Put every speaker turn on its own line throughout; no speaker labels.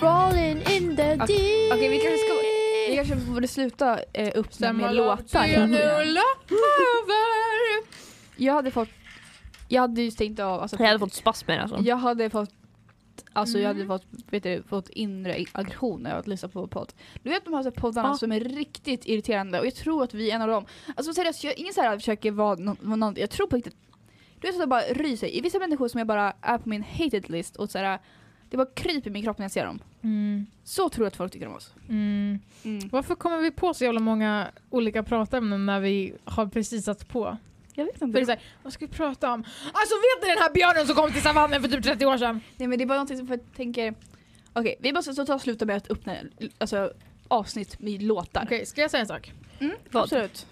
Rolling in the
Okej,
deep.
okej, vi kanske ska- Vi kanske borde sluta eh, upp med,
Samma
med
låt
låtar.
till nu,
Jag hade fått... Jag hade ju stängt av... Alltså,
Jag hade fått spasmer alltså.
Jag hade fått... Alltså jag hade
Mm.
fått, vet du, fått inre i- aggression när jag hade lyssnat på podd. Du vet de här så här poddarna
Ja.
som är riktigt irriterande och jag tror att vi är en av dem. Alltså seriöst, jag är ingen så här försöker vara nå- vara någon, jag tror på riktigt. Du vet så att jag bara ryser. I vissa människor som jag bara är på min hated list och så här, det bara kryper i min kropp när jag ser dem.
Mm,
Så tror jag att folk tycker om oss.
mm.
Mm.
Varför kommer vi på så jävla många olika pratämnen när vi har precis satt på?
Jag vet
För det är
inte.
så här, vad ska vi prata om? Alltså vet ni den här björnen som kom till savannen för typ 30 år sedan?
Nej men det är bara någonting som jag tänker, okej vi måste så ta och sluta med att öppna alltså, avsnitt med låtar.
Okej, ska jag säga en sak?
Mm,
Vad?
absolut.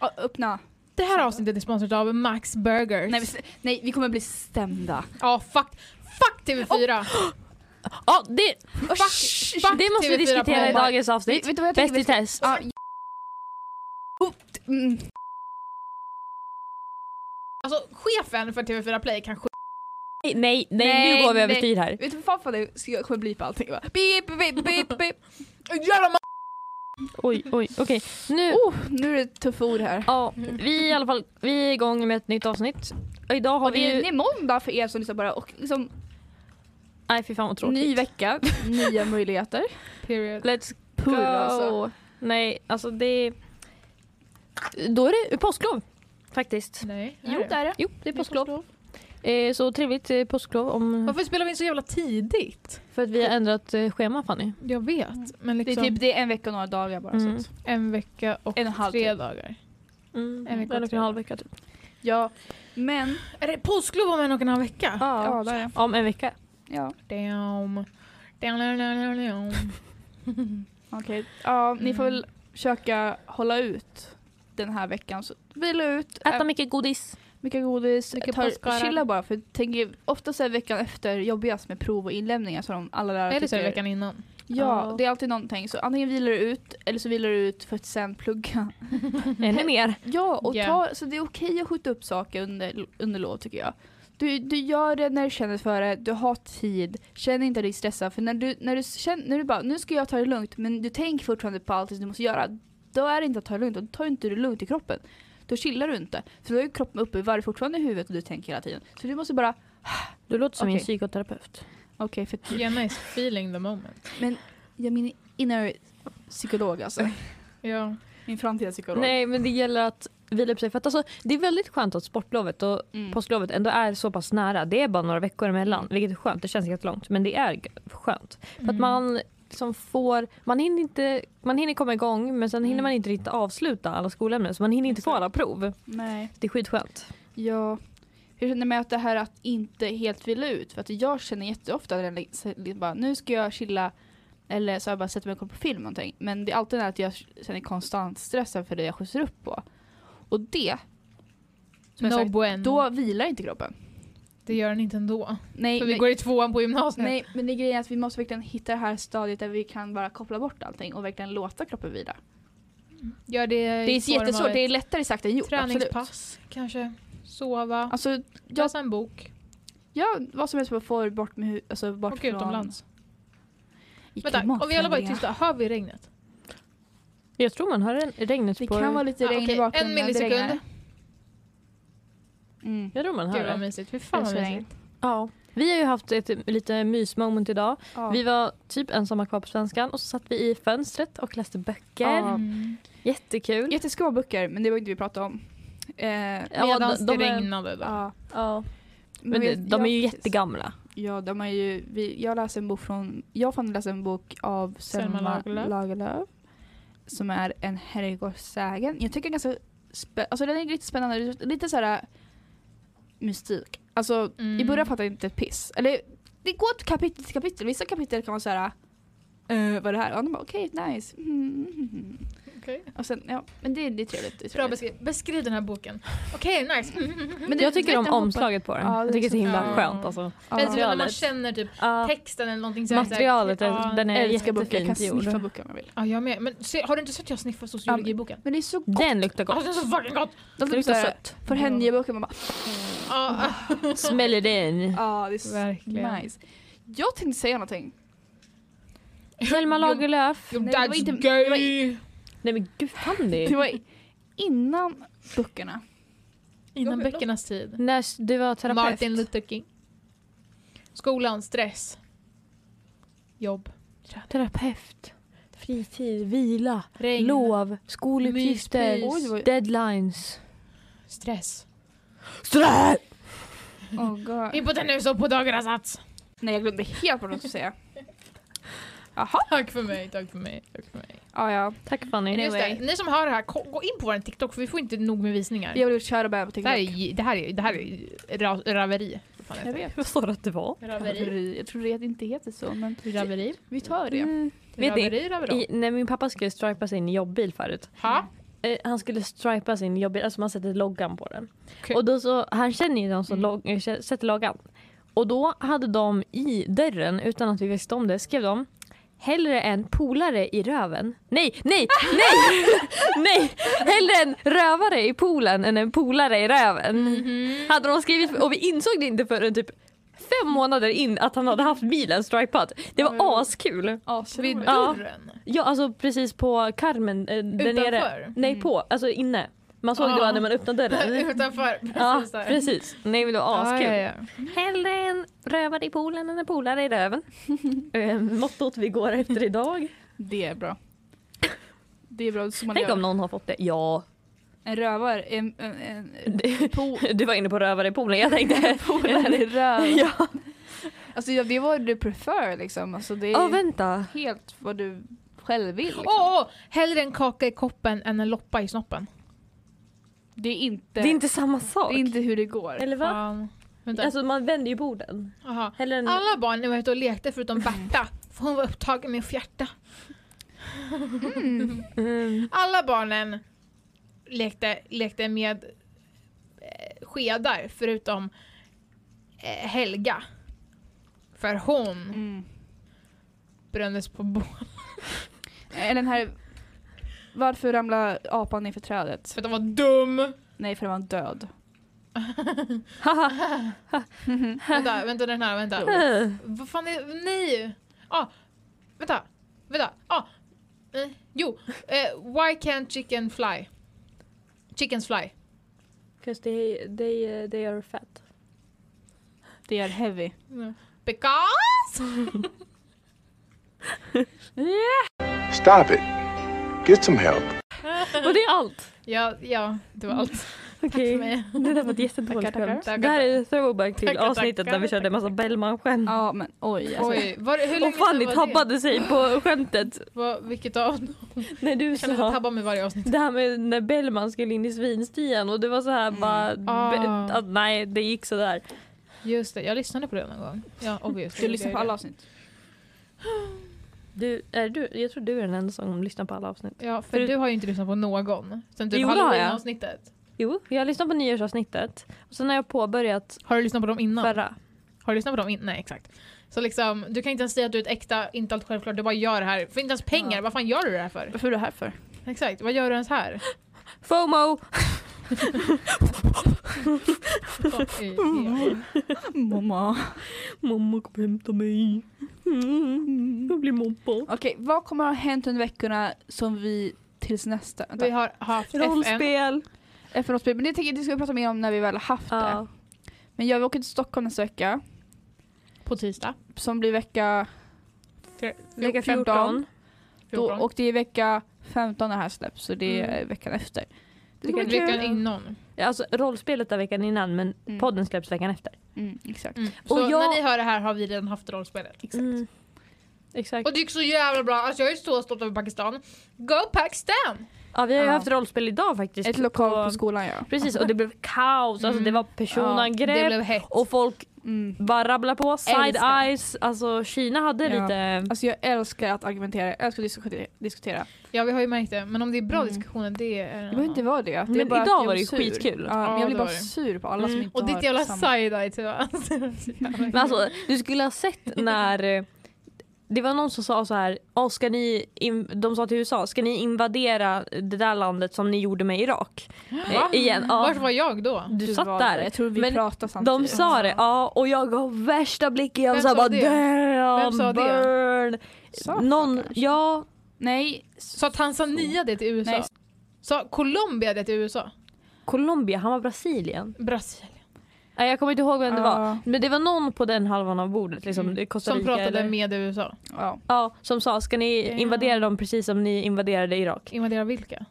Ja, öppna.
Det här avsnittet är sponsrat av Max Burgers.
Nej, vi, nej, vi kommer bli stämda.
Ja, fuck, fuck TV4!
Ja, det,
Och
Fuck,
sh-
fuck
det måste vi
TV4
diskutera i
på-
dagens
vet,
avsnitt.
vet du vad jag
Bäst
tänker?
i test.
Ja, Oh, t- mm.
Alltså chefen för TV4 Play kan skit.
Nej, nej,
Nej,
nu går vi
nej.
överstyr här.
Vet du vad fan för det ska jag kommer bli på allting va? Beep, beep, beep, beep.
Jävla ma-
Oj, oj, okej. Nu,
Oh, nu är det tuffa ord här.
ja, vi är i alla fall, vi är igång med ett nytt avsnitt. Och idag har
Och det
vi
är
ju,
ny måndag för er som lyssnar bara och liksom
nej fy fan vad tråkigt.
ny vecka, nya möjligheter.
Period.
Let's go!
Purr, alltså.
Nej, alltså det... Då är det påsklov faktiskt.
Nej.
Jo det är det.
Jo, det är påsklov. Eh, så trevligt eh, påsklov om...
Varför spelar vi in så jävla tidigt?
För att vi har ändrat eh, schema Fanny.
Jag vet, men
Det är,
liksom
typ, det är en vecka och några dagar bara.
Mm.
Så att,
en vecka och
en och en halv
tre
typ.
dagar.
Mm.
En vecka
Eller
till.
en halv vecka typ.
Ja, men...
Är det påsklov om en och en halv vecka?
Ja, där är det.
Om en vecka.
Ja,
Damn. Damn, damn, damn, damn, damn.
okej. Ja, ni får
Mm.
väl försöka hålla ut den här veckan. Så vila ut. äh,
Äta mycket godis.
Mycket godis.
Mycket
tar,
påskkörare.
chilla bara. För tänk, oftast är veckan efter jobbigast med prov och inlämningar. Så de alla lärare
Är det så
tycker-
veckan innan?
Ja,
Ja.
det är alltid någonting. Så antingen vilar du ut eller så vilar du ut för att sen plugga.
Ännu mer.
Ja, och
Ja.
ta, så det är okej att skjuta upp saker under, under lov tycker jag. Du, du gör det när du känner för det, du har tid, känn inte dig stressad. För när du, när du känner, när du bara, nu ska jag ta det lugnt, men du tänker fortfarande på allt som du måste göra. Då är det inte att ta det lugnt, och då tar du inte det lugnt i kroppen. Då chillar du inte. För då är ju kroppen uppe i varv fortfarande i huvudet och du tänker hela tiden. Så du måste bara,
Du låter som min
Okej.
psykoterapeut.
okej för
Jenna is feeling the moment.
jag är min inner psykolog alltså.
Ja.
Min framtida psykolog.
Nej men det gäller att vila upp sig. För att alltså, det är väldigt skönt att sportlovet och
Mm.
påsklovet ändå är så pass nära. Det är bara några veckor emellan vilket är skönt. Det känns jättelångt men det är g- skönt. För
Mm.
att man liksom får, man hinner, inte, man hinner komma igång men sen hinner
Mm.
man inte riktigt avsluta alla skolämnen så man hinner inte få
Exakt.
alla prov.
Nej.
Det är skitskönt.
Ja. Jag känner med att det här att inte helt vila ut. För att jag känner jätteofta att jag liksom bara, nu ska jag chilla. Eller så har jag bara sätter mig och kollar på film eller någonting. Men det är alltid det här att jag känner konstant stressen för det jag skjutsar upp på. Och det, som
no
jag sagt,
bueno.
då vilar inte kroppen.
Det gör den inte ändå.
Nej,
För vi
men,
går i tvåan på gymnasiet.
nej, men det är grejen att vi måste verkligen hitta det här stadiet där vi kan bara koppla bort allting och verkligen låta kroppen vila.
Gör det
Det är jättesvårt, det är lättare sagt än gjort. Absolut.
träningspass kanske. Sova.
Alltså, jag,
läsa en bok.
ja, vad som helst bara får bort med hu- alltså bort
Åka
från...
utomlands.
i
Vänta, om vi alla bara är
klimatförändringar.
tysta, hör vi regnet?
Jag tror man hör en- regnet
Det
på...
kan vara lite
Ja,
regn
okej,
i bakgrunden.
En
när det regnar.
millisekund.
Mm.
Jag tror man hör
Gud vad
det.
mysigt. Fy fan vad
Älskar
mysigt.
Ja. Vi har ju haft ett lite mysmoment idag.
Ja.
Vi var typ ensamma kvar på Svenskan och så satt vi i fönstret och läste böcker.
Ja.
Mm.
Jättekul.
Jätteskumma böcker, men det var inte vi pratade om. Eh,
Ja,
Medans
de-
det
de är-
regnade då.
ja.
Ja.
Men
Men
vi-
det, de
ja,
är ju
precis.
jättegamla.
Ja, de är ju, vi, jag läste en bok från, jag fann läsa en bok av Selma,
Selma Lagerlöf.
Lagerlöf. Som är en herrgårdssägen. Jag tycker den är ganska, spä, alltså den är lite spännande, lite så här äh, mystik. Alltså
Mm.
i början fattade jag inte ett piss. Eller det går ett kapitel till äh, kapitel, vissa kapitel kan man säga eh, vad är det här? Och de bara okej, nice. Mm, mm, mm.
Okej.
Och sen, ja, men det, det är trevligt. Det är
Bra
trevligt.
beskriv. Beskriv den här boken. Okej, nice. Mm, mm, mm.
Men det-
jag tycker
du
om
vet, den
omslaget på den.
Ja, det
jag tycker det är så himla
ja.
skönt alltså.
hoppar-
Eller typ när man
Materialet.
känner typ
Ja,
texten eller någonting. Så är det så här-
materialet,
Ja.
är, den är
Jag älskar böcker, jag kan
jättefint gjord.
sniffa böcker om jag vill.
Ja, jag med. Men se, har du inte sett jag sniffar sociologiboken?
Men det är så gott.
Den luktar
Alltså
gott.
den är så fucking gott!
De typ
Det luktar
såhär,
sött.
För henne i böcker, man bara
Ja,
Smäller den.
ja ah, det är så
verkligen.
nice. Jag tänkte säga någonting.
Selma Lagerlöf.
Your
Nej, det var
dad's
inte- det var
gay!
Nej men gud Fanny.
Det var innan böckerna.
Innan
Jag vet-
böckernas tid.
När s- du var terapeut.
Martin Luther King. Skolan, stress. Jobb.
Terapeut. Fritid, vila,
Regn.
lov, skoluppgifter,
Myspys.
Oj, det var-
deadlines.
Stress.
Stress!
Oh, God.
Impotenus och på dagarnas sats.
Nej jag glömde helt vad jag skulle säga.
Tack för mig, tack för mig, tack för mig.
Ah, ja.
Tack Fanny.
Just det, ni som hör det här, ko- gå in på vår TikTok för vi får inte nog med visningar.
Jag blev kär och bär på
Det här är,
TikTok.
ju- det här är, det här är ju ra, raveri. Vad fan
Jag
heter
vet.
Vad sa du att det var?
det? Raveri.
Jag tror det inte heter så men
Raveri.
vi tar det.
Mm. Vet ni,
Raveri, raveri.
i, när min pappa skulle stripa sin jobbbil förut.
Ha?
Eh, han skulle stripa sin jobbbil, alltså man sätter loggan på den.
Okej.
Och då så, han känner ju de som
Mm.
log- eh, kä- sätter loggan. Och då hade de i dörren, utan att vi visste om det, skrev de Hellre en polare i röven. Nej, nej, nej! nej! Hellre en rövare i poolen än en polare i röven. Mm-hmm.
Mm-hmm.
Hade de skrivit, och vi insåg det inte förrän typ fem månader in att han hade haft bilen stripad. Det var
Mm.
Oj, oj, oj.
askul.
Vid
Asroligt.
Ja.
dörren.
Ja, alltså precis på Carmen. Eh, där nere.
Utanför?
Nej,
Mm.
på. Alltså inne. Man såg det
Ah.
bara när man öppnade dörren.
Utanför.
Ja,
Precis där.
precis. Nej men det var
Ja,
askul.
ja, ja.
Hellre en rövare i poolen än en polare i röven. eh, mottot vi går efter idag.
Det är bra. Det är bra, så man
Tänk
gör.
om någon har fått det. Ja.
En rövar, en, en, en,
Det-
po-
Du var inne på rövare i poolen, jag tänkte.
polare i röv.
ja.
Alltså ja, det är vad du prefer liksom. Alltså, det är
Ja, vänta.
helt vad du själv vill. Liksom.
Åh, åh, hellre en kaka i koppen än en loppa i snoppen.
Det är inte
Det är inte samma sak.
det är inte hur det går.
Eller vad?
Fan. Vänta.
Alltså man vänder ju borden.
Aha.
Hellre en...
Alla barn var ute och lekte förutom Berta, för hon var upptagen med att fjärta.
Mm.
Alla barnen lekte, lekte med eh, skedar förutom eh, Helga. För hon
Mm.
brändes på bål
Eller Eh, den här varför ramlar apan ner för trädet?
för att hon var dum.
Nej, för den var död.
Haha.
vänta, vänta den här, vänta.
Eh.
Vad fan är Nej! Ah, vänta, vänta. Ah, eh, jo, eh, why can't chicken fly? Chickens fly.
Because they, they, uh, they are fat.
Det är heavy.
Because...
Stop it. Get some help.
Och det är allt.
Ja, ja, det var allt.
Okej.
för mig.
Det där var ett jättedåligt
Tackar,
skämt.
tackar.
Det här är throwback till
Tackar,
avsnittet
tackar,
när vi körde en massa Bellman-skämt.
Ja, men oj. Alltså.
Oj, var, hur länge
Och Fanny
sedan var det?
tabbade sig på skämtet
Vad- vilket av dem?
när du
Jag känner att jag
sa
tabbar mig varje avsnitt.
det här med när Bellman skulle in i svinstian och det var så här
Mm.
bara,
Ah.
be, att nej det gick sådär.
Just det, jag lyssnade på det någon gång. Ja, obviously.
Du lyssnar på alla avsnitt.
Du, är du, jag tror du är den enda som lyssnar på alla avsnitt.
Ja, för
För-
du har ju inte lyssnat på någon. Sen typ
Jo, det har jag.
halloween-avsnittet.
Jo, jag lyssnar på nyårsavsnittet och sen har jag påbörjat
Har du lyssnat på dem innan?
förra.
Har du lyssnat på dem? In- Nej, exakt. Så liksom, du kan inte ens säga att du är ett äkta, inte allt självklart, du bara gör det här. Får inte ens pengar,
Ja.
vad fan gör du det här för?
Varför är du här för?
Exakt, vad gör du ens här?
FOMO!
Mm.
Mamma.
Mamma kom hämta mig. Mm, jag blir mobbad.
Okej, vad kommer att ha hänt under veckorna som vi tills nästa...
Vi
Vänta.
har haft FN.
Rollspel.
FN-årsspel, men det, tänker jag- det ska vi prata mer om när vi väl har haft det.
Ja.
Men jag vi åker till Stockholm nästa vecka.
På tisdag.
Som blir vecka...
Vecka
14.
14.
Då,
14.
och det är vecka 15 när det här släpps, så det är veckan efter. Det ska bli
Veckan
kul.
innan.
Alltså rollspelet är veckan innan men
Mm.
podden släpps veckan efter.
Mm, exakt.
Mm. Så
Och jag-
när ni hör det här har vi redan haft rollspelet.
exakt.
Mm. Exakt.
Och det gick så jävla bra, alltså jag är så stolt över Pakistan. Go Pakistan!
Ja, vi har ju
Ja.
haft rollspel idag faktiskt.
Ett lokalt på
på-
skolan ja.
Precis, och det blev kaos. Alltså,
Mm.
Det var
Ja, det
personangrepp
blev hett.
och folk
Mm.
Bara rabbla på, side
Älskar.
eyes, alltså Kina hade
Ja.
lite...
Alltså jag älskar att argumentera, jag älskar att diskutera. diskutera.
Ja, vi har ju märkt det. Men om det är bra
Mm.
diskussioner, det är en
Det behöver inte vara det. det är
Men
bara att
idag
jag
var
är
det ju
sur.
skitkul.
Ja, men
Ja,
jag blir
det
bara
var det.
sur på alla som
Mm.
inte
Och ditt
har
jävla
samma-
side-eye typ. Alltså,
Men alltså, du skulle ha sett när... eh, Det var någon som sa så här, "Åh, ska ni in, de sa till USA, ska ni invadera det där landet som ni gjorde med Irak? Eh,
Va?
igen, ja.
Vart var jag då?
Du,
var
satt där.
Jag tror vi
Men
pratade samtidigt.
De sa det,
Ja.
ja och jag gav värsta blicken, jag
Vem
sa
sa
bara
det?
damn,
Vem sa det?
burn.
Sa
Någon,
kanske.
ja,
Nej. s-
Sa Tanzania det till USA?
Nej.
Sa Colombia det till USA?
Colombia, han var Brasilien.
Brasilien.
Nej jag kommer inte ihåg vem det
Ja.
var. Men det var någon på den halvan av bordet, liksom,
Mm.
det är Costa
Som
Rica
pratade
eller,
med USA.
Ja.
Ja, som sa ska ni
Damn.
invadera dem precis som ni invaderade Irak?
Invadera vilka?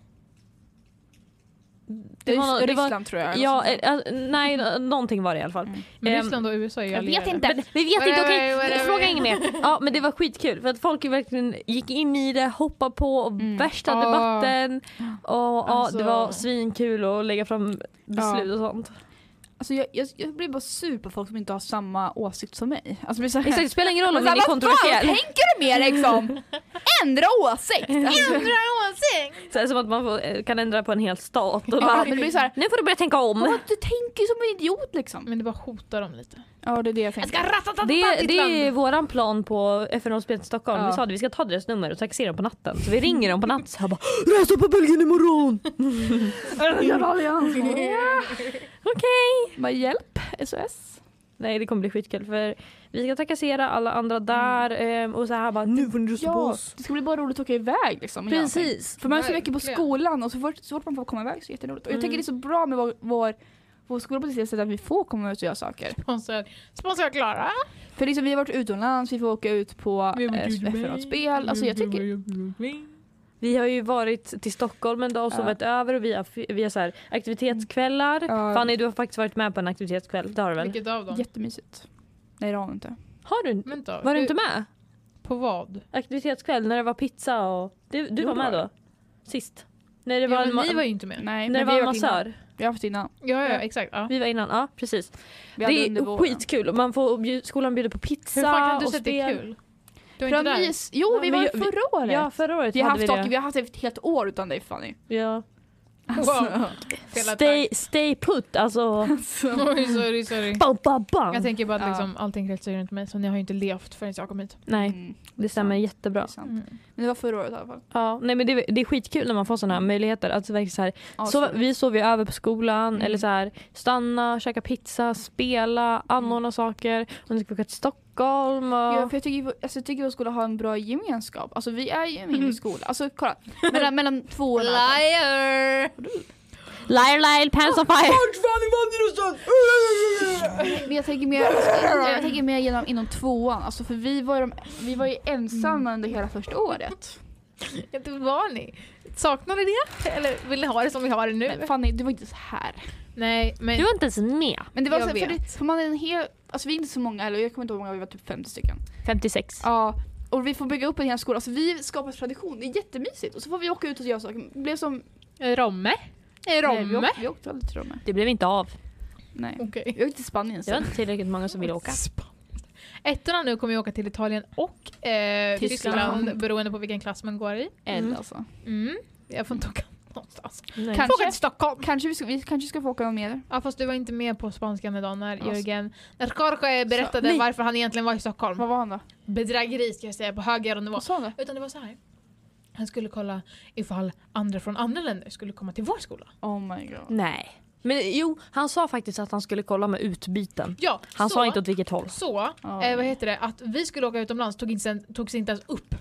Det
var nå-
var,
det var-
Ryssland tror jag. eller
Ja,
sånt där.
eh, eh, nej nå- någonting var det i alla fall.
Mm.
Men
Ehm,
Ryssland och USA är ju
Jag
allierade.
vet inte. Men, vi vet inte,
Whatever,
okej.
whatever.
Fråga ingen mer. Ja, men det var skitkul för att folk verkligen gick in i det, hoppade på och
Mm.
värsta
Ja.
debatten. Och, ja, det
Alltså.
var svinkul att lägga fram beslut
Ja.
och sånt.
Alltså jag, jag, jag blir bara sur på folk som inte har samma åsikt som mig. Alltså det blir så här,
Exakt, det spelar ingen roll om
Men
den är
vad fan
kontroversiell.
tänker du med liksom? Ändra åsikt! Ändra!
Så här, som att man får, eh, kan ändra på en hel stat. Och
Ja,
bara,
men det blir så här,
nu får du börja tänka
"Åh,
om.
du tänker ju som en idiot liksom.
Men det bara hotar dem lite.
Ja det är det jag tänker.
ratatata
Det, det är våran plan på FN-rådspelet i Stockholm.
Ja.
Vi sa att vi ska ta deras nummer och taxera dem på natten. Så vi ringer dem på natten så här bara “Rösta på Belgien imorgon!”
Mm.
Okej.
Vad hjälp, SOS.
Nej det kommer bli skitkul för vi ska trakassera alla andra där ehm, och så här bara nu får ni rösta på
Ja,
oss.
det ska bli bara roligt att åka iväg liksom. och göra någonting. För man är så mycket på
Verkligen.
skolan och så fort, så fort man får komma iväg så är det jätteroligt. Och jag
Mm.
tänker det är så bra med vår, vår, vår skola på det sättet att vi får komma ut och göra saker.
Sponsrar, sponsrar Klara.
För liksom, vi har varit utomlands, vi får åka ut på eh,
Vi har varit ute med-
FN-spel. Alltså jag tycker...
Vi har ju varit till Stockholm en dag och
Ja. Mm.
sovit över och vi har, vi har så här, aktivitetskvällar.
Ja.
Fanny du har faktiskt varit med på en aktivitetskväll, det har du väl?
Vilket av dem?
Jättemysigt. Nej det har hon inte.
Har du,
Vänta,
var du inte med?
Eh, På vad?
Aktivitetskväll när det var pizza och... Du, du
Jo,
var
det
med
var
då? Sist? När det
Ja,
var,
men
en ma-
ni var ju inte med.
Nej,
när det
men
var
vi
en
har varit innan.
massör.
Vi har haft innan.
Ja, ja, exakt. Ja.
Vi var innan, ja precis.
Vi hade
Det
under
är
våren.
skitkul och man får, bjud- skolan bjuder på pizza
Hur fan kan du
och
säga att det är
spel.
kul? Du var
För
inte
att vi,
där.
jo,
Ja,
vi
men
var ju
jag- vi-
förra året.
Ja förra året
vi, har
hade vi
haft saker,
det.
vi har haft ett helt år utan dig Fanny. Alltså.
Ja.
Wow. Fel attack.
Stay, stay put alltså.
Oj, sorry, sorry.
Bam, bam, bam.
Jag tänker bara att
Ja.
liksom, allting kretsar ju runt mig så ni har ju inte levt förrän jag kom hit.
Nej,
Mm,
det stämmer
det är
jättebra.
sant. Men det var förra året i alla fall.
Ja, nej, men det, det är skitkul när man får sådana här möjligheter. Att verkligen så här,
Ja,
sova,
så-
vi sov ju över på skolan,
Mm.
eller så här, stanna, käka pizza, spela, anordna saker. Och nu ska vi åka till Stockholm. Och...
Ja, för jag tycker, alltså, jag tycker vi skulle ha en bra gemenskap. Alltså vi är ju en mindre skola. Alltså kolla, mellan, mellan två och en halv.
Liar!
Liar, liar, pants on fire!
Men jag tänker mer, alltså, jag, jag tänker mer genom, inom tvåan. Alltså för vi var, ju de, vi var ju ensamma under hela första året.
Inte var ni? Saknade det? Eller vill ni ha det som vi har det nu?
Men Fanny, du var inte så här.
Nej, men...
Du var inte ens med.
Men det var
Jag
så, för,
vet.
det, för man är en hel, alltså vi är inte så många heller, jag kommer inte ihåg hur många, vi var typ 50 stycken.
56.
Ja, och vi får bygga upp en hel skola, alltså vi skapar tradition, det är jättemysigt. Och så får vi åka ut och göra saker, det blev som...
Romme?
Nej, vi,
Romme?
åkte, vi åkte aldrig till Romme.
Det blev inte av.
Nej.
Okej.
Vi åkte till Spanien
Det var
sen.
inte tillräckligt många som ville åka.
Ettorna nu kommer ju åka till Italien och eh,
Tyskland.
Tyskland. beroende på vilken klass man går i.
Eld alltså.
Mm. Jag får inte åka någonstans.
Nej.
Kanske.
Kanske. Åka till Stockholm!
Kanske vi, ska, vi kanske ska få åka mer.
Ja fast du var inte med på spanskan idag när
Alltså.
Jörgen, när Jorge berättade
nej.
varför han egentligen var i Stockholm.
Vad var han då?
Bedrägeri ska jag säga på högre nivå.
Vad sa han då?
Utan det var så här. Han skulle kolla ifall andra från andra länder skulle komma till vår skola.
Oh my
Eh,
god.
Nej. Men jo, han sa faktiskt att han skulle kolla med utbyten.
Ja,
Han
så,
sa inte åt vilket håll.
Så,
Ja.
eh, vad heter det, att vi skulle åka utomlands tog inte, sen- togs inte ens upp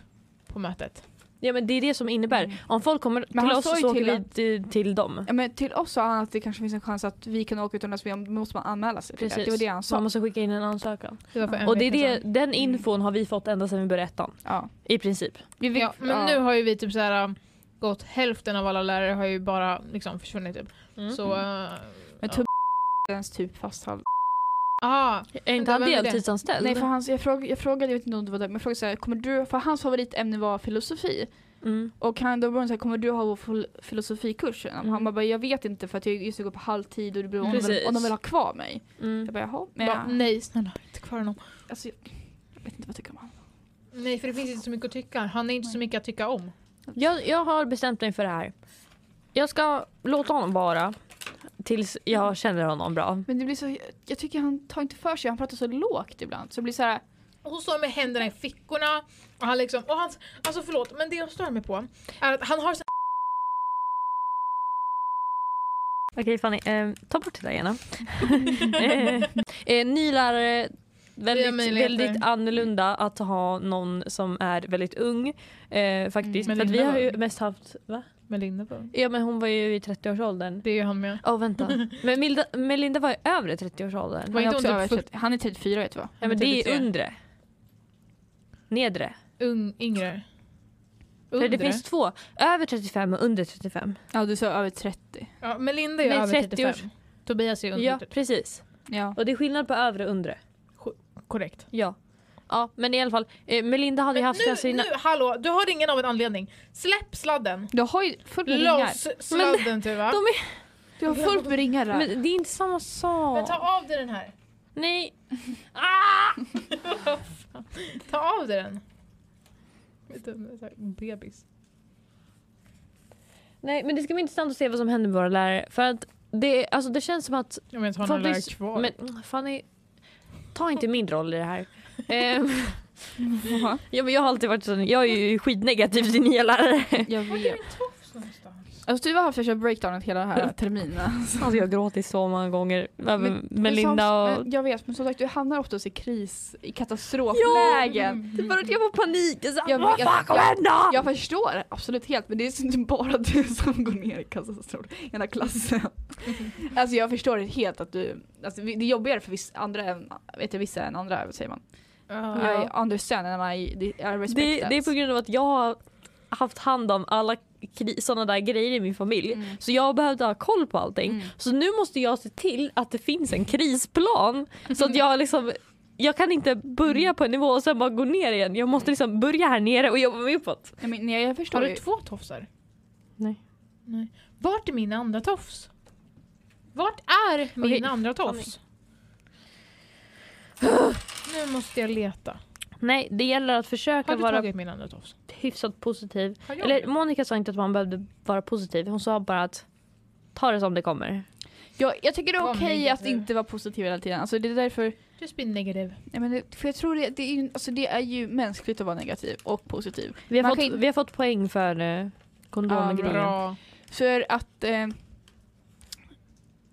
på mötet.
Ja men det är det som innebär.
Mm.
Om folk kommer
Men
till
han
oss
sa ju
så åker
till
vi
att-
till, till dem.
Ja, men till oss sa han att det kanske finns en chans att vi kan åka utomlands, men då måste man anmäla sig till det.
Precis. Mm.
Det var det han
Så man
sa. Mm.
måste skicka in en ansökan.
Det var för en
Och det är
vecka
det,
sedan.
den infon har vi fått ända sedan vi började ettan.
Ja.
I princip.
Vi fick-
Ja, men
ja.
nu har ju vi typ så här um, gått hälften av alla lärare har ju bara liksom försvunnit typ.
Mm.
Mm.
Så... eh,
Men
ja.
Tubbe är ens typ fast halv.
Ah,
Är inte han
Vem är det?
deltidsanställd?
Nej för hans, jag, fråg, jag frågade, jag vet inte om du var där, men jag frågade så här, kommer du, för hans favoritämne var filosofi.
Mm.
Och han, då var hon så här, kommer du ha vår fil- filosofikurs?
Mm.
Han bara, jag vet inte för att jag just går på halvtid och det beror om, de vill,
Precis.
om de vill ha kvar mig.
Mm.
Jag bara, jaha. Men
Bara,
jag,
nej, snälla, inte kvar honom.
alltså, jag, jag vet inte vad jag tycker om honom.
Nej, för det finns inte så mycket att tycka. Han är inte så mycket att tycka om.
Jag, jag har bestämt mig för det här. Jag ska låta honom vara tills jag känner honom bra.
Men det blir så, jag, jag tycker han tar inte för sig, han pratar så lågt ibland. Så det blir så här,
Och hon står med händerna i fickorna. Och han liksom, och han, alltså förlåt, men det jag stör mig på är att han har så
Okej Fanny, eh, ta bort det där gärna. eh, eh, ny lärare,
Nya
väldigt,
möjligheter.
väldigt annorlunda att ha någon som är väldigt ung eh, faktiskt.
Mm, men
För att vi
Linda
har
var
ju
ung.
mest haft, va?
Melinda på.
Ja men hon var ju i 30-årsåldern.
Det är ju han med.
Åh vänta. Men Milda, Melinda var ju över 30-årsåldern.
Var
han är,
inte
också
hon typ
över, 30 han är 34 vet du vad?
Ja men det
33.
är undre. Nedre.
Ung, yngre.
För
Undre.
det finns två. Över 35 och under 35.
Ja du sa över 30.
ja, Melinda är
Nej,
över
30
35.
års-
Tobias är under
Ja
35.
precis.
Ja.
Och det är skillnad på övre och undre.
Korrekt.
Ja. Ja men i alla fall. Eh, Melinda hade ju
Men
haft
nu,
sina...
nu, hallå, du har ringen av en anledning. Släpp sladden.
Du har ju fullt med ringar.
Loss sladden Tuva.
De är...
Du har fullt med ringar där.
Men det är inte samma sak.
Men ta av dig den här.
Nej.
Ta av dig den. Vet du, så här, Bebis.
Nej men det ska bli intressant att se vad som händer med våra lärare. För att det, alltså, det känns som att
Jag menar, ta några
Fanny-
lärare kvar.
Men Fanny, ta inte min roll i det här. Ehm, ja, men jag har alltid varit sån, jag är ju skitnegativ till nya lärare.
Jag
Vart är
vet.
min tofs någonstans?
Alltså du har haft värsta breakdownet hela den här terminen.
Alltså jag har gråtit så många gånger över
Men-
Melinda
Men
och...
som- men Jag vet, men som sagt du hamnar oftast i kris, i katastroflägen.
Det är bara att jag får panik. Jag, är så här,
Jag-
vad
jag-
fan kommer
jag-
hända?
Jag förstår absolut helt men det är inte bara du som går ner i katastrof hela klassen. Alltså jag förstår helt att du, alltså, vi- det är jobbigare för vissa andra än, vet jag, vissa än andra, vad säger man?
Ja.
I understand and I, I respect
det,
that.
det är på grund av att jag har haft hand om alla kri- sådana där grejer i min familj.
Mm.
Så jag behövde ha koll på allting.
Mm.
Så nu måste jag se till att det finns en krisplan. Så att jag liksom jag kan inte börja på en nivå och sen bara gå ner igen. Jag måste liksom börja här nere och jobba mig uppåt.
Nej, men, nej, jag
Har
förstår
du
ju.
två tofsar?
Nej.
Nej. Vart är min andra tofs? Vart är min
Okej,
andra tofs? nu måste jag leta.
Nej, det gäller att försöka
Har du
vara
tagit min andra tofs?
hyfsat positiv.
Har jag
Eller
det?
Monica sa inte att man behövde vara positiv. Hon sa bara att ta det som det kommer.
Jag, jag tycker det är
Vad
okej att
negativ.
inte vara positiv hela tiden. Alltså det är därför
Just be negative.
Nej, men det, för jag tror det, det, är, ju- alltså det är ju mänskligt att vara negativ och positiv.
Vi har,
Man
fått,
kan-
vi har fått poäng för eh, kondomgrejen.
Bra.
För att, eh,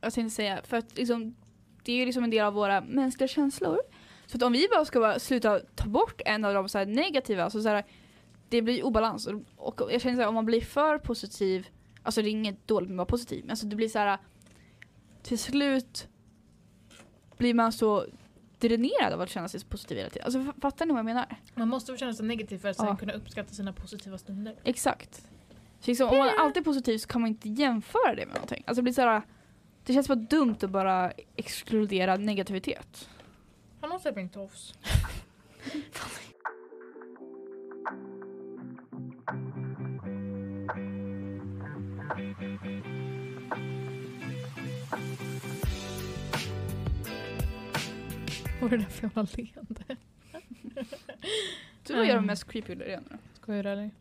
jag tänkte säga, för att liksom, det är ju liksom en del av våra mänskliga känslor. Så att om vi bara ska bara sluta ta bort en av de så här negativa, alltså så här, det blir obalans. Och, och jag känner så här, om man blir för positiv, alltså det är inget dåligt med att vara positiv, men alltså det blir så här, till slut blir man så dränerad av att känna sig positiv hela tiden. Alltså f- fattar ni vad jag menar?
Man måste få känna sig negativ för att
Ja.
sen kunna uppskatta sina positiva stunder.
Exakt. Så liksom, om man alltid är positiv så kan man inte jämföra det med någonting. Alltså det, blir så här, det känns bara dumt att bara exkludera negativitet.
Han typ måste ha min tofs. Var det därför jag var leende?
Du vad gör de mest creepy grejerna?
Skojar du eller?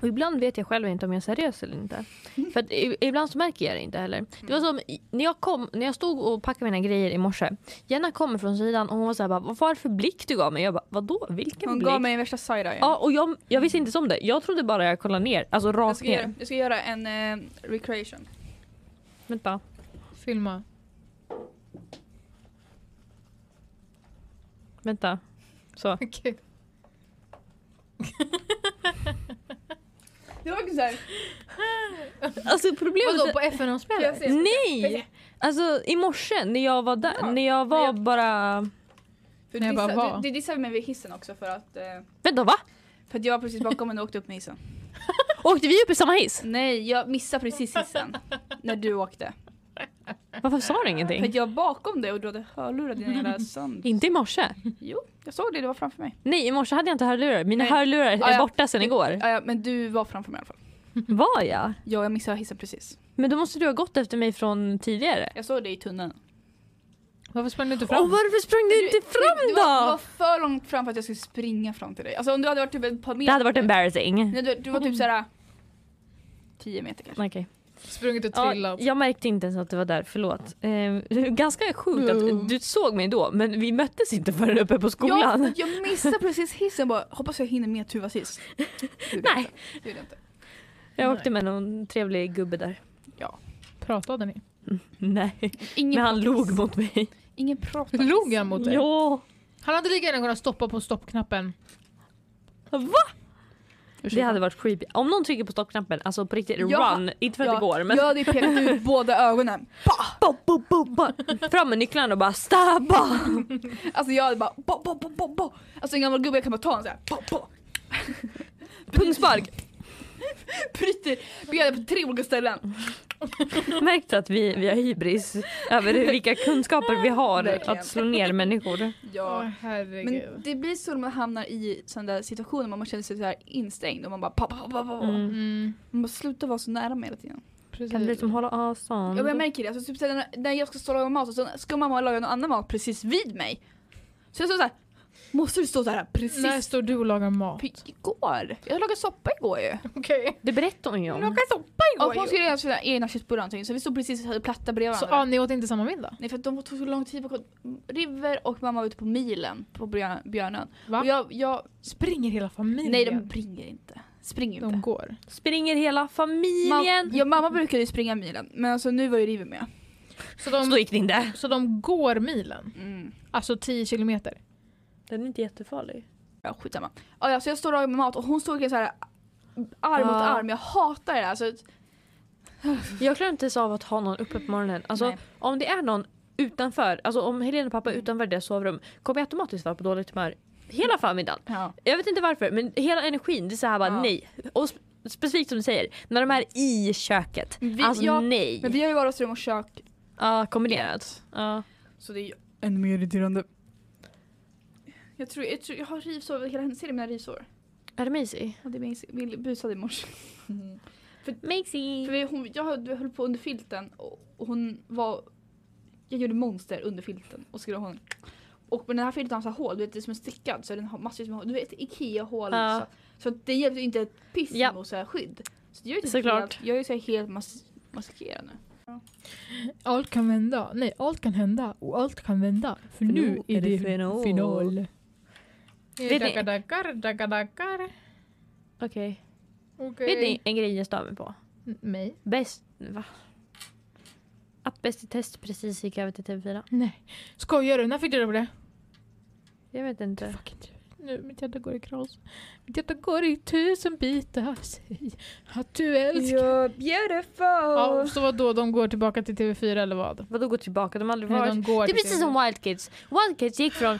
Och ibland vet jag själv inte om jag är seriös eller inte.
Mm.
För att i- ibland så märker jag det inte heller. Det var som i- när jag, kom, när jag stod och packade mina grejer i morse. Jenna kommer från sidan och hon var så här bara, "Vad var det för blick du gav mig? Jag bara, vadå vilken
Hon
blick?
gav mig värsta side-eyen.
Ja och jag, jag visste inte som det. Jag trodde bara jag kollade ner, alltså
jag,
rakt
ska göra,
ner.
jag ska göra en eh, recreation.
Vänta.
Filma.
Vänta. Så.
Okej.
Det var verkligen såhär,
Alltså
Vadå
problemet
på FN-avspelet?
är, Nej! Alltså i morse när jag var där, när jag var
jag-
bara...
för
Nej,
du,
bara
dissade,
vad?
du, du dissade mig vid hissen också för att, eh,
Vänta va?
för att jag var precis bakom henne och åkte upp med hissen.
Åkte vi upp i samma hiss?
Nej, jag missade precis hissen när du åkte.
Varför sa du
För att
ingenting?
jag var bakom dig och du hade hörlurar dina jävla sand.
Inte i morse.
Jo, jag såg det, det var framför mig.
Nej, i morse hade jag inte hörlurar. Mina
Nej.
hörlurar är
Ah, ja.
borta sedan igår.
Ja, ja, men du var framför mig i alla fall.
Var jag?
Ja, jag missade hissen precis.
Men då måste du ha gått efter mig från tidigare.
Jag såg dig i tunneln.
Varför sprang du inte fram?
Och varför sprang du inte
Du
fram
var, du var
då?
för långt fram för att jag skulle springa fram till dig. Alltså om du hade varit typ ett par meter.
Det hade varit Mm. embarrassing.
Nej, du, du var typ såhär 10 meter kanske.
Okej.
Sprungit och
Ja,
trillat.
jag märkte inte ens att det var där, förlåt. Eh, det är ganska sjukt att du såg mig då men vi möttes inte förrän uppe på skolan.
Jag, jag missade precis hissen bara, hoppas jag hinner med Tuvas hiss. Gjorde jag
Nej.
inte. Gjorde jag inte.
Jag åkte med någon trevlig gubbe där.
Pratade ni?
Nej, men
Ingen,
han log mot mig.
ingen prat. om
Log
hissen.
han mot dig?
Ja.
Han hade lika gärna kunnat stoppa på stoppknappen.
Det hade varit creepy. Om någon trycker på stoppknappen, alltså på riktigt
Ja.
run, inte för att
Ja,
det går men
Jag hade ju pekat ut båda ögonen.
Bo, bo, bo, bo. fram med nycklarna och bara stabba!
Alltså jag hade bara bo, bo, bo, bo, bo. Alltså en gammal gubbe jag kan bara ta honom såhär. Bo, bo.
Pungspark!
Bryter benet på tre olika ställen.
Märkt att vi, vi har hybris över vilka kunskaper vi har
Verkligen.
att slå ner människor.
Åh
Ja.
herregud.
Men det blir så när man hamnar i sådana där situationer man känner sig så här instängd och man bara pa, pa, pa, pa, pa.
Mm.
Mm,
Man bara sluta vara så nära mig hela tiden.
precis.
Kan du liksom hålla avstånd?
Ja, men jag märker det. Alltså, typ, såhär, när- när jag ska stå och laga mat och så ska mamma laga någon annan mat precis vid mig. Så jag står såhär, måste du stå såhär precis?
När står du och lagar mat?
P- Igår? Jag lagade soppa igår ju.
Okej.
Det berättade hon ju om.
soppa
Ja, för hon skulle göra sina egna köttbullar och någonting, så vi stod precis och hade platta bredvid
Så
varandra.
ah, ni åt inte samma middag?
Nej för att de tog så lång tid på River och mamma var ute på milen på Björn- Björnön.
Va?
Och jag, jag,
Springer hela familjen?
nej de springer inte. Springer
de
inte.
går.
Springer hela
Ma-
familjen!
ja, mamma brukade ju springa milen men alltså nu var ju River med.
Så
Så
då
de,
gick det inte.
så de går milen?
Mm.
Alltså 10 kilometer?
Den är inte jättefarlig.
Ja skitsamma. Ja, ja, så jag står och lagar mat och hon står verkligen så här arm mot
Ja.
arm. Jag hatar det där. Alltså,
Jag klarar inte ens av att ha någon uppe på morgonen. Alltså,
Nej.
Om det är någon utanför, alltså om Helena och pappa är utanför deras sovrum kommer jag automatiskt vara på dåligt humör hela förmiddagen.
ja.
Jag vet inte varför men hela energin det är så här bara
Ja.
nej. Och sp- specifikt som du säger, när de är i köket.
Men vi-
alltså
ja,
nej.
Men vi har ju vardagsrum och kök
Ja, kombinerat. Ja.
så det är ju ännu mer irriterande. Jag tror jag, tror, jag har rivsår, hela hennes ser mina rivsår.
Är det mysig?
Ja, det minns- Vi busade i morse. För
Mysig.
vi, hon, jag höll- höll på under filten och och hon var... Jag gjorde monster under filten och skulle hon. Och med den här filten har så här hål, du vet det är som en stickad så den har massvis med hål. Du vet IKEA-hål.
Ja.
Så, så att det hjälpte ju inte ett piss
Ja.
mot så här skydd. Så det gör ju typ
Såklart.
Helt, jag är ju så här helt mas- maskerad nu.
Allt kan vända. Nej, allt kan hända och allt kan vända. För, nu är det final. Eh,
Vet ni-
Dackar, dackar, dackar, dackar.
Okej.
Okej.
Vet ni en grej jag stör mig på?
N- Mig?
Bäst... Va? Att Bäst i test precis gick över till TV4.
Nej. Skojar du? När fick du reda på det?
Jag vet inte.
Fucking tur. Nu, mitt hjärta går i kras. Mitt hjärta går i tusen bitar. Säg att du älskar...
You're beautiful!
Ja, så vad då? De går tillbaka till TV4 eller vad?
Vadå gå tillbaka? De har aldrig
Nej,
varit...
de går
Det är
till
precis som Wild Kids. Wild Kids gick från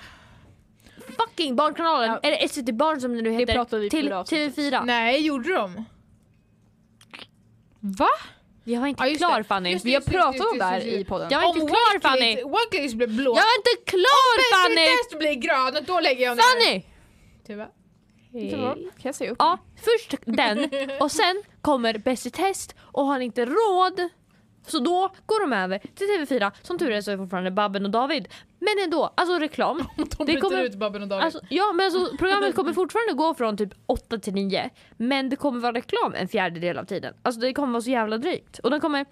fucking Barnkanalen,
Ja.
eller SVT Barn som det nu
det
heter,
pratade vi
till
förra avsnittet.
TV4.
Nej, gjorde de? Va?
Jag var inte
Ja, just
klar
det.
Fanny.
Just
Vi har
Precis,
pratat om
precis,
det här
precis.
i podden.
Jag var inte
Om
klar
Wild
Fanny!
Kids- Wild Kids blev blå.
Jag var inte klar Fanny!
test blir grön, då lägger jag
Fanny!
Tuva.
Så, kan jag säga upp?
Ja, först den och sen kommer Bäst i test och har inte råd så då går de över till TV4. Som tur är så är fortfarande Babben och David. Men ändå, alltså reklam.
De bryter
kommer-
ut Babben och David.
Alltså, ja men alltså, programmet kommer fortfarande gå från typ 8 till 9 men det kommer vara reklam en fjärdedel av tiden. Alltså det kommer vara så jävla drygt. Och de kommer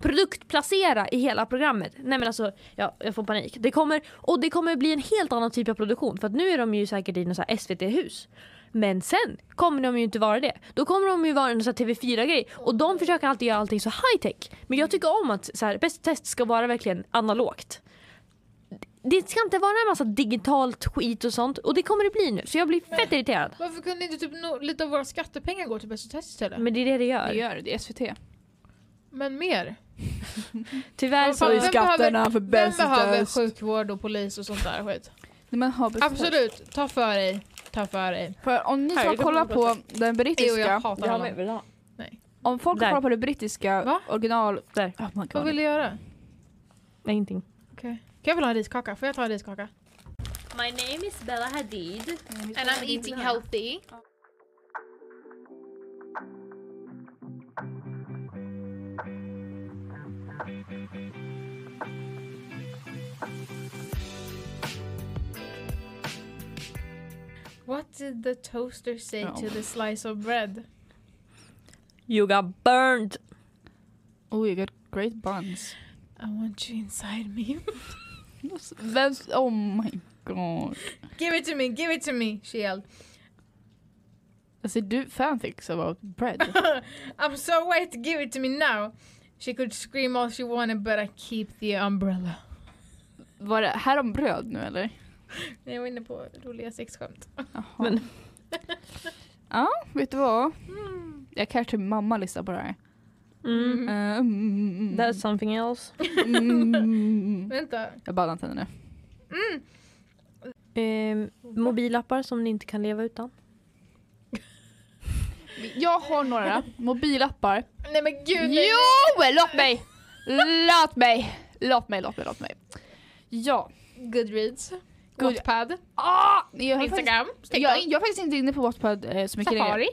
produktplacera i hela programmet. Nej men alltså ja, jag får panik. Det kommer, och det kommer bli en helt annan typ av produktion för att nu är de ju säkert i något så här SVT-hus. Men sen kommer de ju inte vara det. Då kommer de ju vara en sån här TV4-grej och de försöker alltid göra allting så high-tech. Men jag tycker om att så här, Bäst i test ska vara verkligen analogt det ska inte vara en massa digitalt skit och sånt och det kommer det bli nu så jag blir fett irriterad.
Varför kunde inte typ no- lite av våra skattepengar gå till Bäst i test istället?
Men det är det det
Det
gör.
gör det, det är SVT.
Men mer.
Tyvärr
Vad
så...
fan, vem behöver-
för
Vem behöver sjukvård och polis och sånt där skit?
När man har bäst i test.
Absolut, ta för dig. Ta för dig.
För om ni
Här,
ska
det
kolla
kommer gå
på den
Jo, jag
brittiska,
hatar honom.
vill ha.
om folk
Där.
kollar på det brittiska
Va?
original...
Där.
Oh my God.
Vad vill du göra?
Nej, ingenting.
Kan jag väl ha en riskaka? Får jag ta en riskaka?
My name is Bella Hadid.
And I'm eating healthy. What did the toaster say
Ja.
to the slice of bread?
You got burned!
Oh, you got great buns.
I want you inside me.
Vem, oh my god.
give it to me, give it to me, she yelled.
Alltså du fanfics about bread.
I'm so wet, give it to me now. She could scream all she wanted, but I keep the umbrella.
Var det här om bröd nu eller?
Jag var inne på roliga sexskämt.
Jaha.
Men-
ja, vet du vad?
Mm.
Jag kanske mamma lyssnar på det här.
Mm.
Mm.
That's something else.
Mm.
Vänta.
Jag badar inte nu.
Ehm, mobilappar som ni inte kan leva utan.
Jag har några mobilappar.
Nej men gud! nej,
Jo! Låt mig! Låt mig! Låt mig, låt mig, låt mig. Ja.
nej. Goodreads.
Good-
Goodpad.
Ah, jag, har faktiskt,
Instagram.
jag,
TikTok.
jag är faktiskt inte inne på Wattpad eh, så mycket längre.
Safari.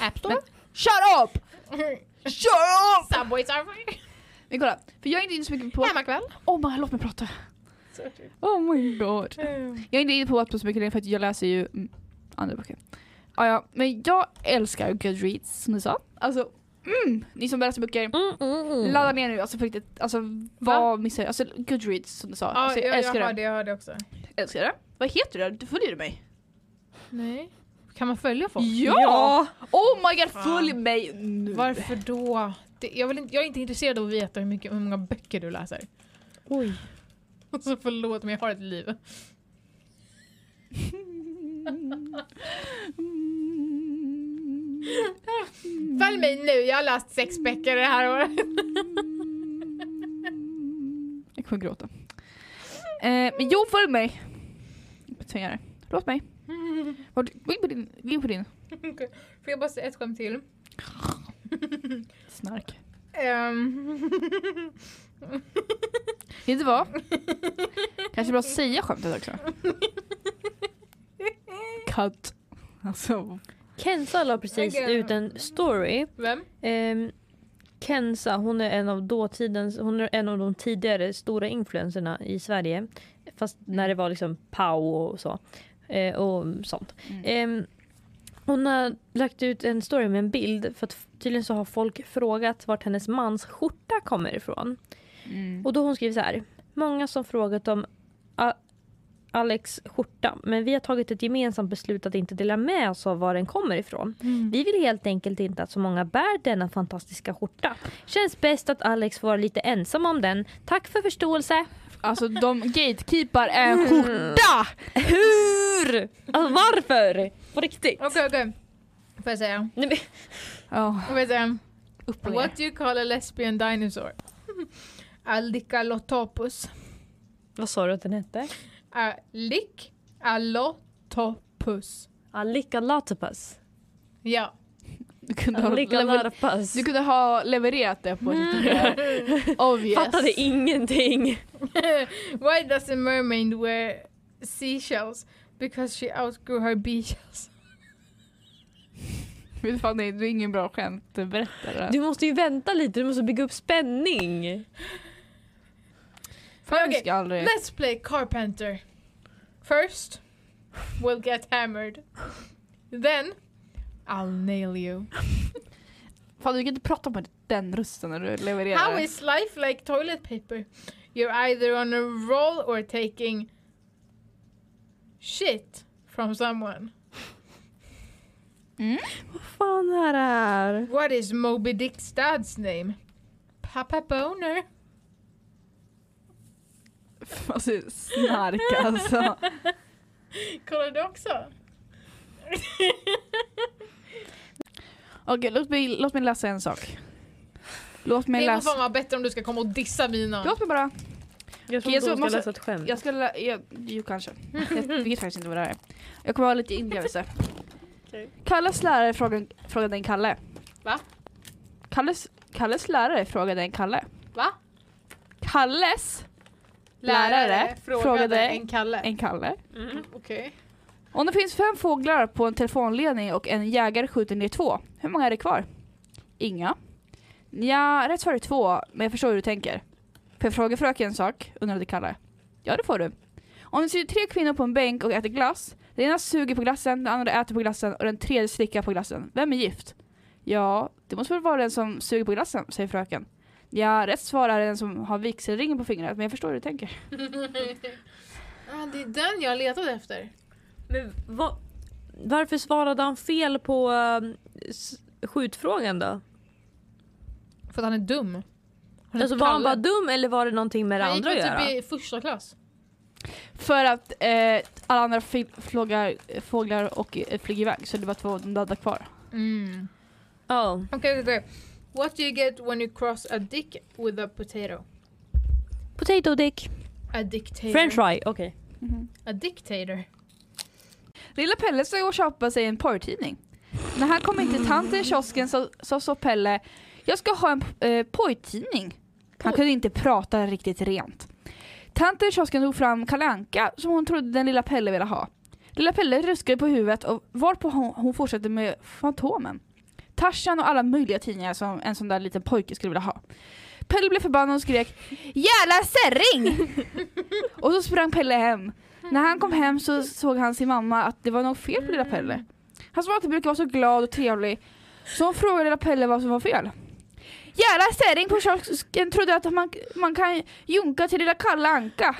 App Store.
Shut up! Shut up!
Subway Safari.
Men kolla, för jag är inte inne så mycket på...
Hemmakväll.
Oh my, låt mig prata.
typ.
Oh my god. Jag är inte inne på Wattpad så mycket längre för att jag läser ju mm, andra böcker. Ah, ja, men jag älskar Goodreads som du sa. Alltså, mm, ni som läser böcker,
Mm, mm, mm.
ladda ner nu. Alltså på riktigt, alltså vad missar jag? Alltså Goodreads som du sa.
Ja,
alltså, jag,
jag, jag
älskar
har
det.
det, jag har det också.
Älskar det. Vad heter det? Du följer du mig?
Nej. Kan man följa folk?
Ja! Oh my god, följ mig nu!
Varför då? Det, jag, vill inte, jag är inte intresserad av att veta hur, mycket, hur många böcker du läser.
Oj.
Så förlåt men jag har ett liv. Följ mig nu, jag har läst sex böcker det här året.
Jag kommer gråta. Eh, men jo, följ mig! Jag tvingar dig. Låt mig. Vart- Gå in på din, gå in på din.
Får jag bara säga ett skämt till?
Snark.
Ehm,
Vet du vad? Kanske bra att säga skämtet också. Cut. Alltså,
Kenza la precis
Okej.
ut en story.
Vem?
Ehm, Kenza, hon är en av dåtidens, hon är en av de tidigare stora influencerna i Sverige. Fast när det var liksom Pau och så. Eh, och sånt. Ehm, hon har lagt ut en story med en bild för att tydligen så har folk frågat vart hennes mans skjorta kommer ifrån.
Mm.
Och då har hon skrivit så här. Många som frågat om A- Alex skjorta men vi har tagit ett gemensamt beslut att inte dela med oss av var den kommer ifrån.
Mm.
Vi vill helt enkelt inte att så många bär denna fantastiska skjorta. Känns bäst att Alex får vara lite ensam om den. Tack för förståelse.
alltså de gatekeepar en skjorta!
Hur? Alltså varför? På riktigt?
Okej okej. Får jag säga?
Nej, men,
Ja,
Får jag säga?
upp och ner.
What do you call a lesbian dinosaur? Aldicalotopus.
vad sa du att den hette?
Alicalotopus.
Alika Latapas.
Ja.
Du kunde ha,
Alika
lever-
Latapas.
du kunde ha levererat det på ett
Mm.
lite mer obvious.
Fattade ingenting.
Why does a mermaid wear seashells? Because she outgrew her beeshells.
Fy fan, det är det är ingen bra skämtberättare.
Du måste ju vänta lite, du måste bygga upp spänning.
Fan, vi
Okej,
ska aldrig...
Let's play carpenter. First, we'll get hammered. Then, I'll nail you.
Fan, du kan inte prata med den rösten när du levererar.
How is life like toilet paper? You're either on a roll or taking shit from someone.
Mm.
Vad fan är det här?
What is Moby Dick's dad's name? Papa Boner.
Alltså, snark alltså.
Kollar du också?
Okej, låt, mig, låt mig läsa en sak. Låt mig
det får
läsa...
fan vara bättre om du ska komma och dissa mina.
Låt mig bara...
Jag
Okej, jag
trodde
så
hon
måste-
skulle läsa ett skämt.
Jag ska... lä- Jag, jo, kanske. Jag vet faktiskt inte vad det här är. Jag kommer ha lite inlevelse. Kalles lärare frågade, frågade en Kalle.
Va?
Kalles, Kalles lärare frågade en Kalle.
Va?
Kalles Lärare
frågade,
frågade
en Kalle.
En Kalle.
Mm.
Okej.
Om det finns fem fåglar på en telefonledning och en jägare skjuter ner två, hur många är det kvar? Inga. Ja, rätt svar är två, men jag förstår hur du tänker. Får jag fråga fröken en sak? undrade Kalle. Ja, det får du. Om det sitter tre kvinnor på en bänk och äter glass, den ena suger på glassen, den andra äter på glassen och den tredje slickar på glassen. Vem är gift? Ja, det måste väl vara den som suger på glassen, säger fröken. Ja, rätt svar är den som har vigselringen på fingret, men jag förstår hur du tänker.
Ah, det är den jag letade efter.
Men va, varför svarade han fel på ehm, s- skjutfrågan då?
För att han är dum. Han är
Alltså, var han bara
Kalle.
dum eller var det någonting med det
Han gick
andra att
väl
göra?
typ i första klass.
För att eh, alla andra fi- flågar, fåglar och eh, flyger iväg så det var två döda kvar.
Mm.
Ja.
Okej, okay, What do you get when you cross a dick with a potato?
Potato dick.
A dictator.
French fry, okej.
A dictator.
Lilla Pelle ska gå och köpa sig en porrtidning. När han kom in till tanten i kiosken så så sa Pelle Jag ska ha en eh, pojtidning. Han kunde inte prata riktigt rent. Tanten i kiosken tog fram Kalle Anka som hon trodde den lilla Pelle ville ha. Lilla Pelle ruskade på huvudet och varpå hon, hon fortsatte med Fantomen. Tarzan och alla möjliga tidningar som en sån där liten pojke skulle vilja ha. Pelle blev förbannad och skrek Jävla särring! och så sprang Pelle hem. När han kom hem så såg han sin mamma att det var något fel på lilla Pelle. Han som alltid brukar vara så glad och trevlig. Så hon frågade lilla Pelle vad som var fel. Jävla särring på kiosken trodde att man, man kan junka till lilla Kalle Anka.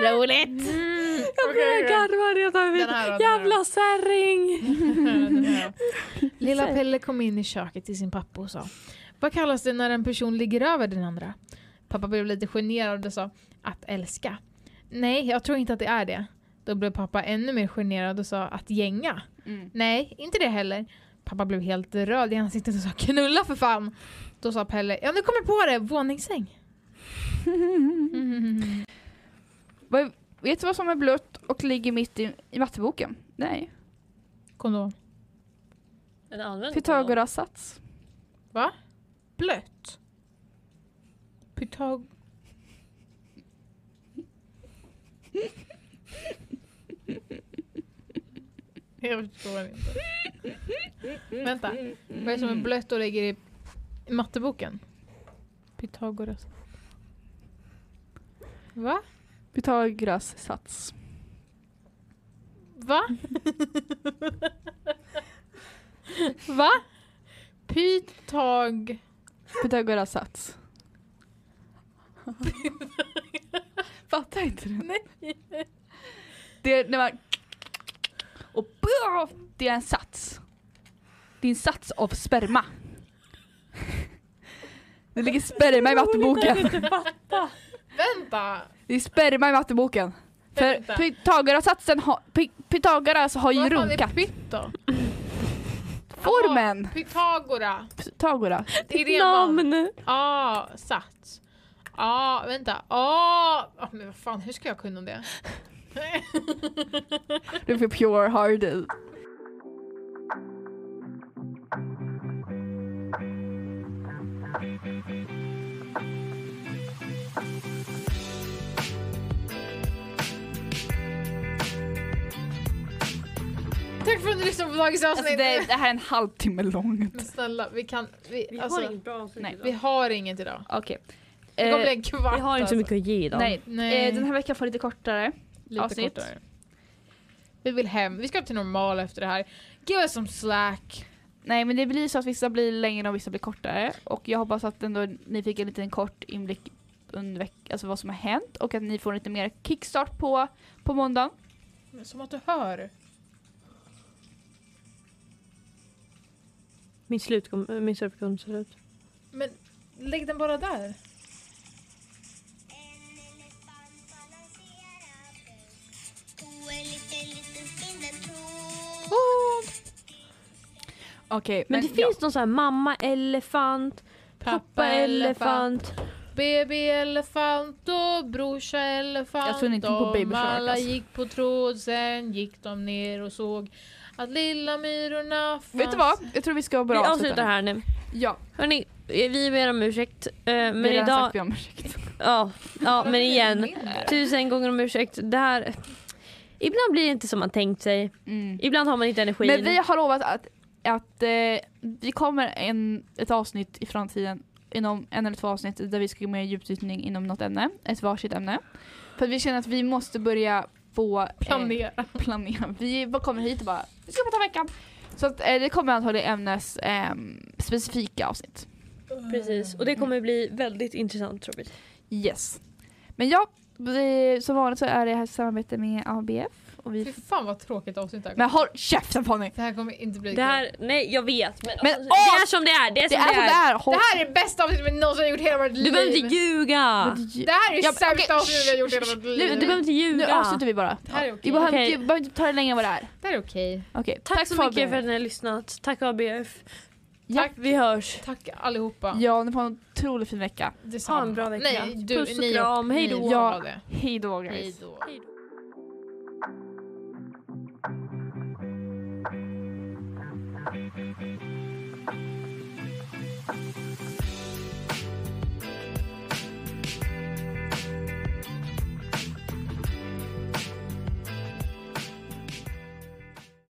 Roligt!
Jag börjar garva redan vid
Den här då, den här då.
jävla särring.
Lilla Pelle kom in i köket till sin pappa och sa Vad kallas det när en person ligger över den andra? Pappa blev lite generad och sa Att älska. Nej, jag tror inte att det är det. Då blev pappa ännu mer generad och sa att gänga.
Mm.
Nej, inte det heller. Pappa blev helt röd i ansiktet och sa knulla för fan. Då sa Pelle, ja nu kommer jag på det, våningssäng. Mm.
Vad- Vet du vad som är blött och ligger mitt i, i matteboken? Nej.
Kondom.
Den använder man.
Pythagoras sats.
Blött. Pythag... Jag förstår inte. Vänta, vad är det som är blött och ligger i i matteboken? Pythagoras. Va?
Pythagoras sats.
Va? Va? Pythag...
Pythagoras sats. Fattar inte du? Nej. Det är när man... Och bra, det är en sats. Det är en sats av sperma. Det ligger sperma i matteboken.
Vänta!
Det är sperma i matteboken. För
Vänta.
Pythagoras-satsen har... Py- Pythagoras har ju
Vad fan är
runkat.
pytt då?
Formen!
Jaha, Pythagora.
Pythagoras.
Det är det man...
Namn.
Ah, sats. Ah, vänta. Ah, ah, men vad fan, hur ska jag kunna om det?
Du får pure
Alltså,
hardy.
Tack för att ni lyssnade på dagens avsnitt.
Alltså det, det här är en halvtimme långt.
Men snälla, vi kan... Vi,
Vi
alltså,
har inget bra avsnitt
nej,
idag.
vi har inget idag.
Okej.
Det kommer bli
Eh,
en kvart alltså.
Vi har inte så mycket att ge idag.
nej,
Nej,
eh, den här veckan får lite kortare.
lite
avsnitt.
kortare. Vi vill hem. Vi ska till normal efter det här. Give us some slack.
Nej men det blir så att vissa blir längre och vissa blir kortare. Och jag hoppas att ändå ni fick en liten kort inblick under veck- alltså vad som har hänt och att ni får lite mer kickstart på, på måndagen.
Men Som att du hör.
Min, slut kom, äh, min surf kom slut.
Men lägg den bara där.
Okej,
Men, det finns någon sån här mamma elefant, pappa elefant.
Baby elefant och brorsa elefant.
Jag tror inte på
de
Baby Shark,
alla
alltså.
gick på tråd, sen gick de ner och såg Att lilla myrorna fanns.
Vet du vad? Jag tror vi ska
Vi
börja
avslutar här nu.
Ja,
Hörni, vi ber om ursäkt. eh, Men
men det idag...
idag...
sagt vi om ursäkt.
Ja, ja men igen. Tusen gånger om ursäkt. Det här... Ibland blir det inte som man tänkt sig.
Mm.
Ibland har man inte energin.
Men vi har lovat att, att eh, det kommer en, ett avsnitt i framtiden inom en eller två avsnitt där vi ska gå med i djupdykning inom något ämne, ett varsitt ämne. För att vi känner att vi måste börja få eh,
Planera.
planera. Vi bara kommer hit och bara vi ska prata veckan. Så att, eh, det kommer antagligen ämnes eh, specifika avsnitt.
Precis, och det kommer bli väldigt intressant tror vi.
Yes. Men ja, vi, som vanligt så är det här i samarbete med ABF. Och
Fy
vi...
fan vad tråkigt avsnitt det här kommer.
Men håll käften Fanny!
Det här kommer inte bli
Det
kul.
här, nej jag vet men,
Men,
alltså,
åh!
det är som det är. Det är
Det
som
är så det är! Håll...
Det här är det bästa avsnittet vi någonsin har gjort i hela vårt
Du
liv.
behöver inte ljuga!
är...
Det här är det
Ja, men
sämsta
okej,
avsnittet vi har gjort i hela
shh,
vårt
Du, du
liv.
behöver inte
Nu
ljuga.
avslutar vi bara.
Det här är okej.
Vi behöver
Okej.
inte- vi behöver inte ta det längre än vad det är.
Det här är okej.
Okej,
Tack, så
för
mycket för att
det.
ni har lyssnat. Tack ABF.
Ja.
Tack.
Vi hörs.
Tack allihopa.
Ja, ni får en otroligt fin vecka.
Detsamma.
Ha en bra vecka.
Nej, du,
Puss och
ni
kram. Hej
ni
då.
får ha det.
Hej då guys.
Hej då.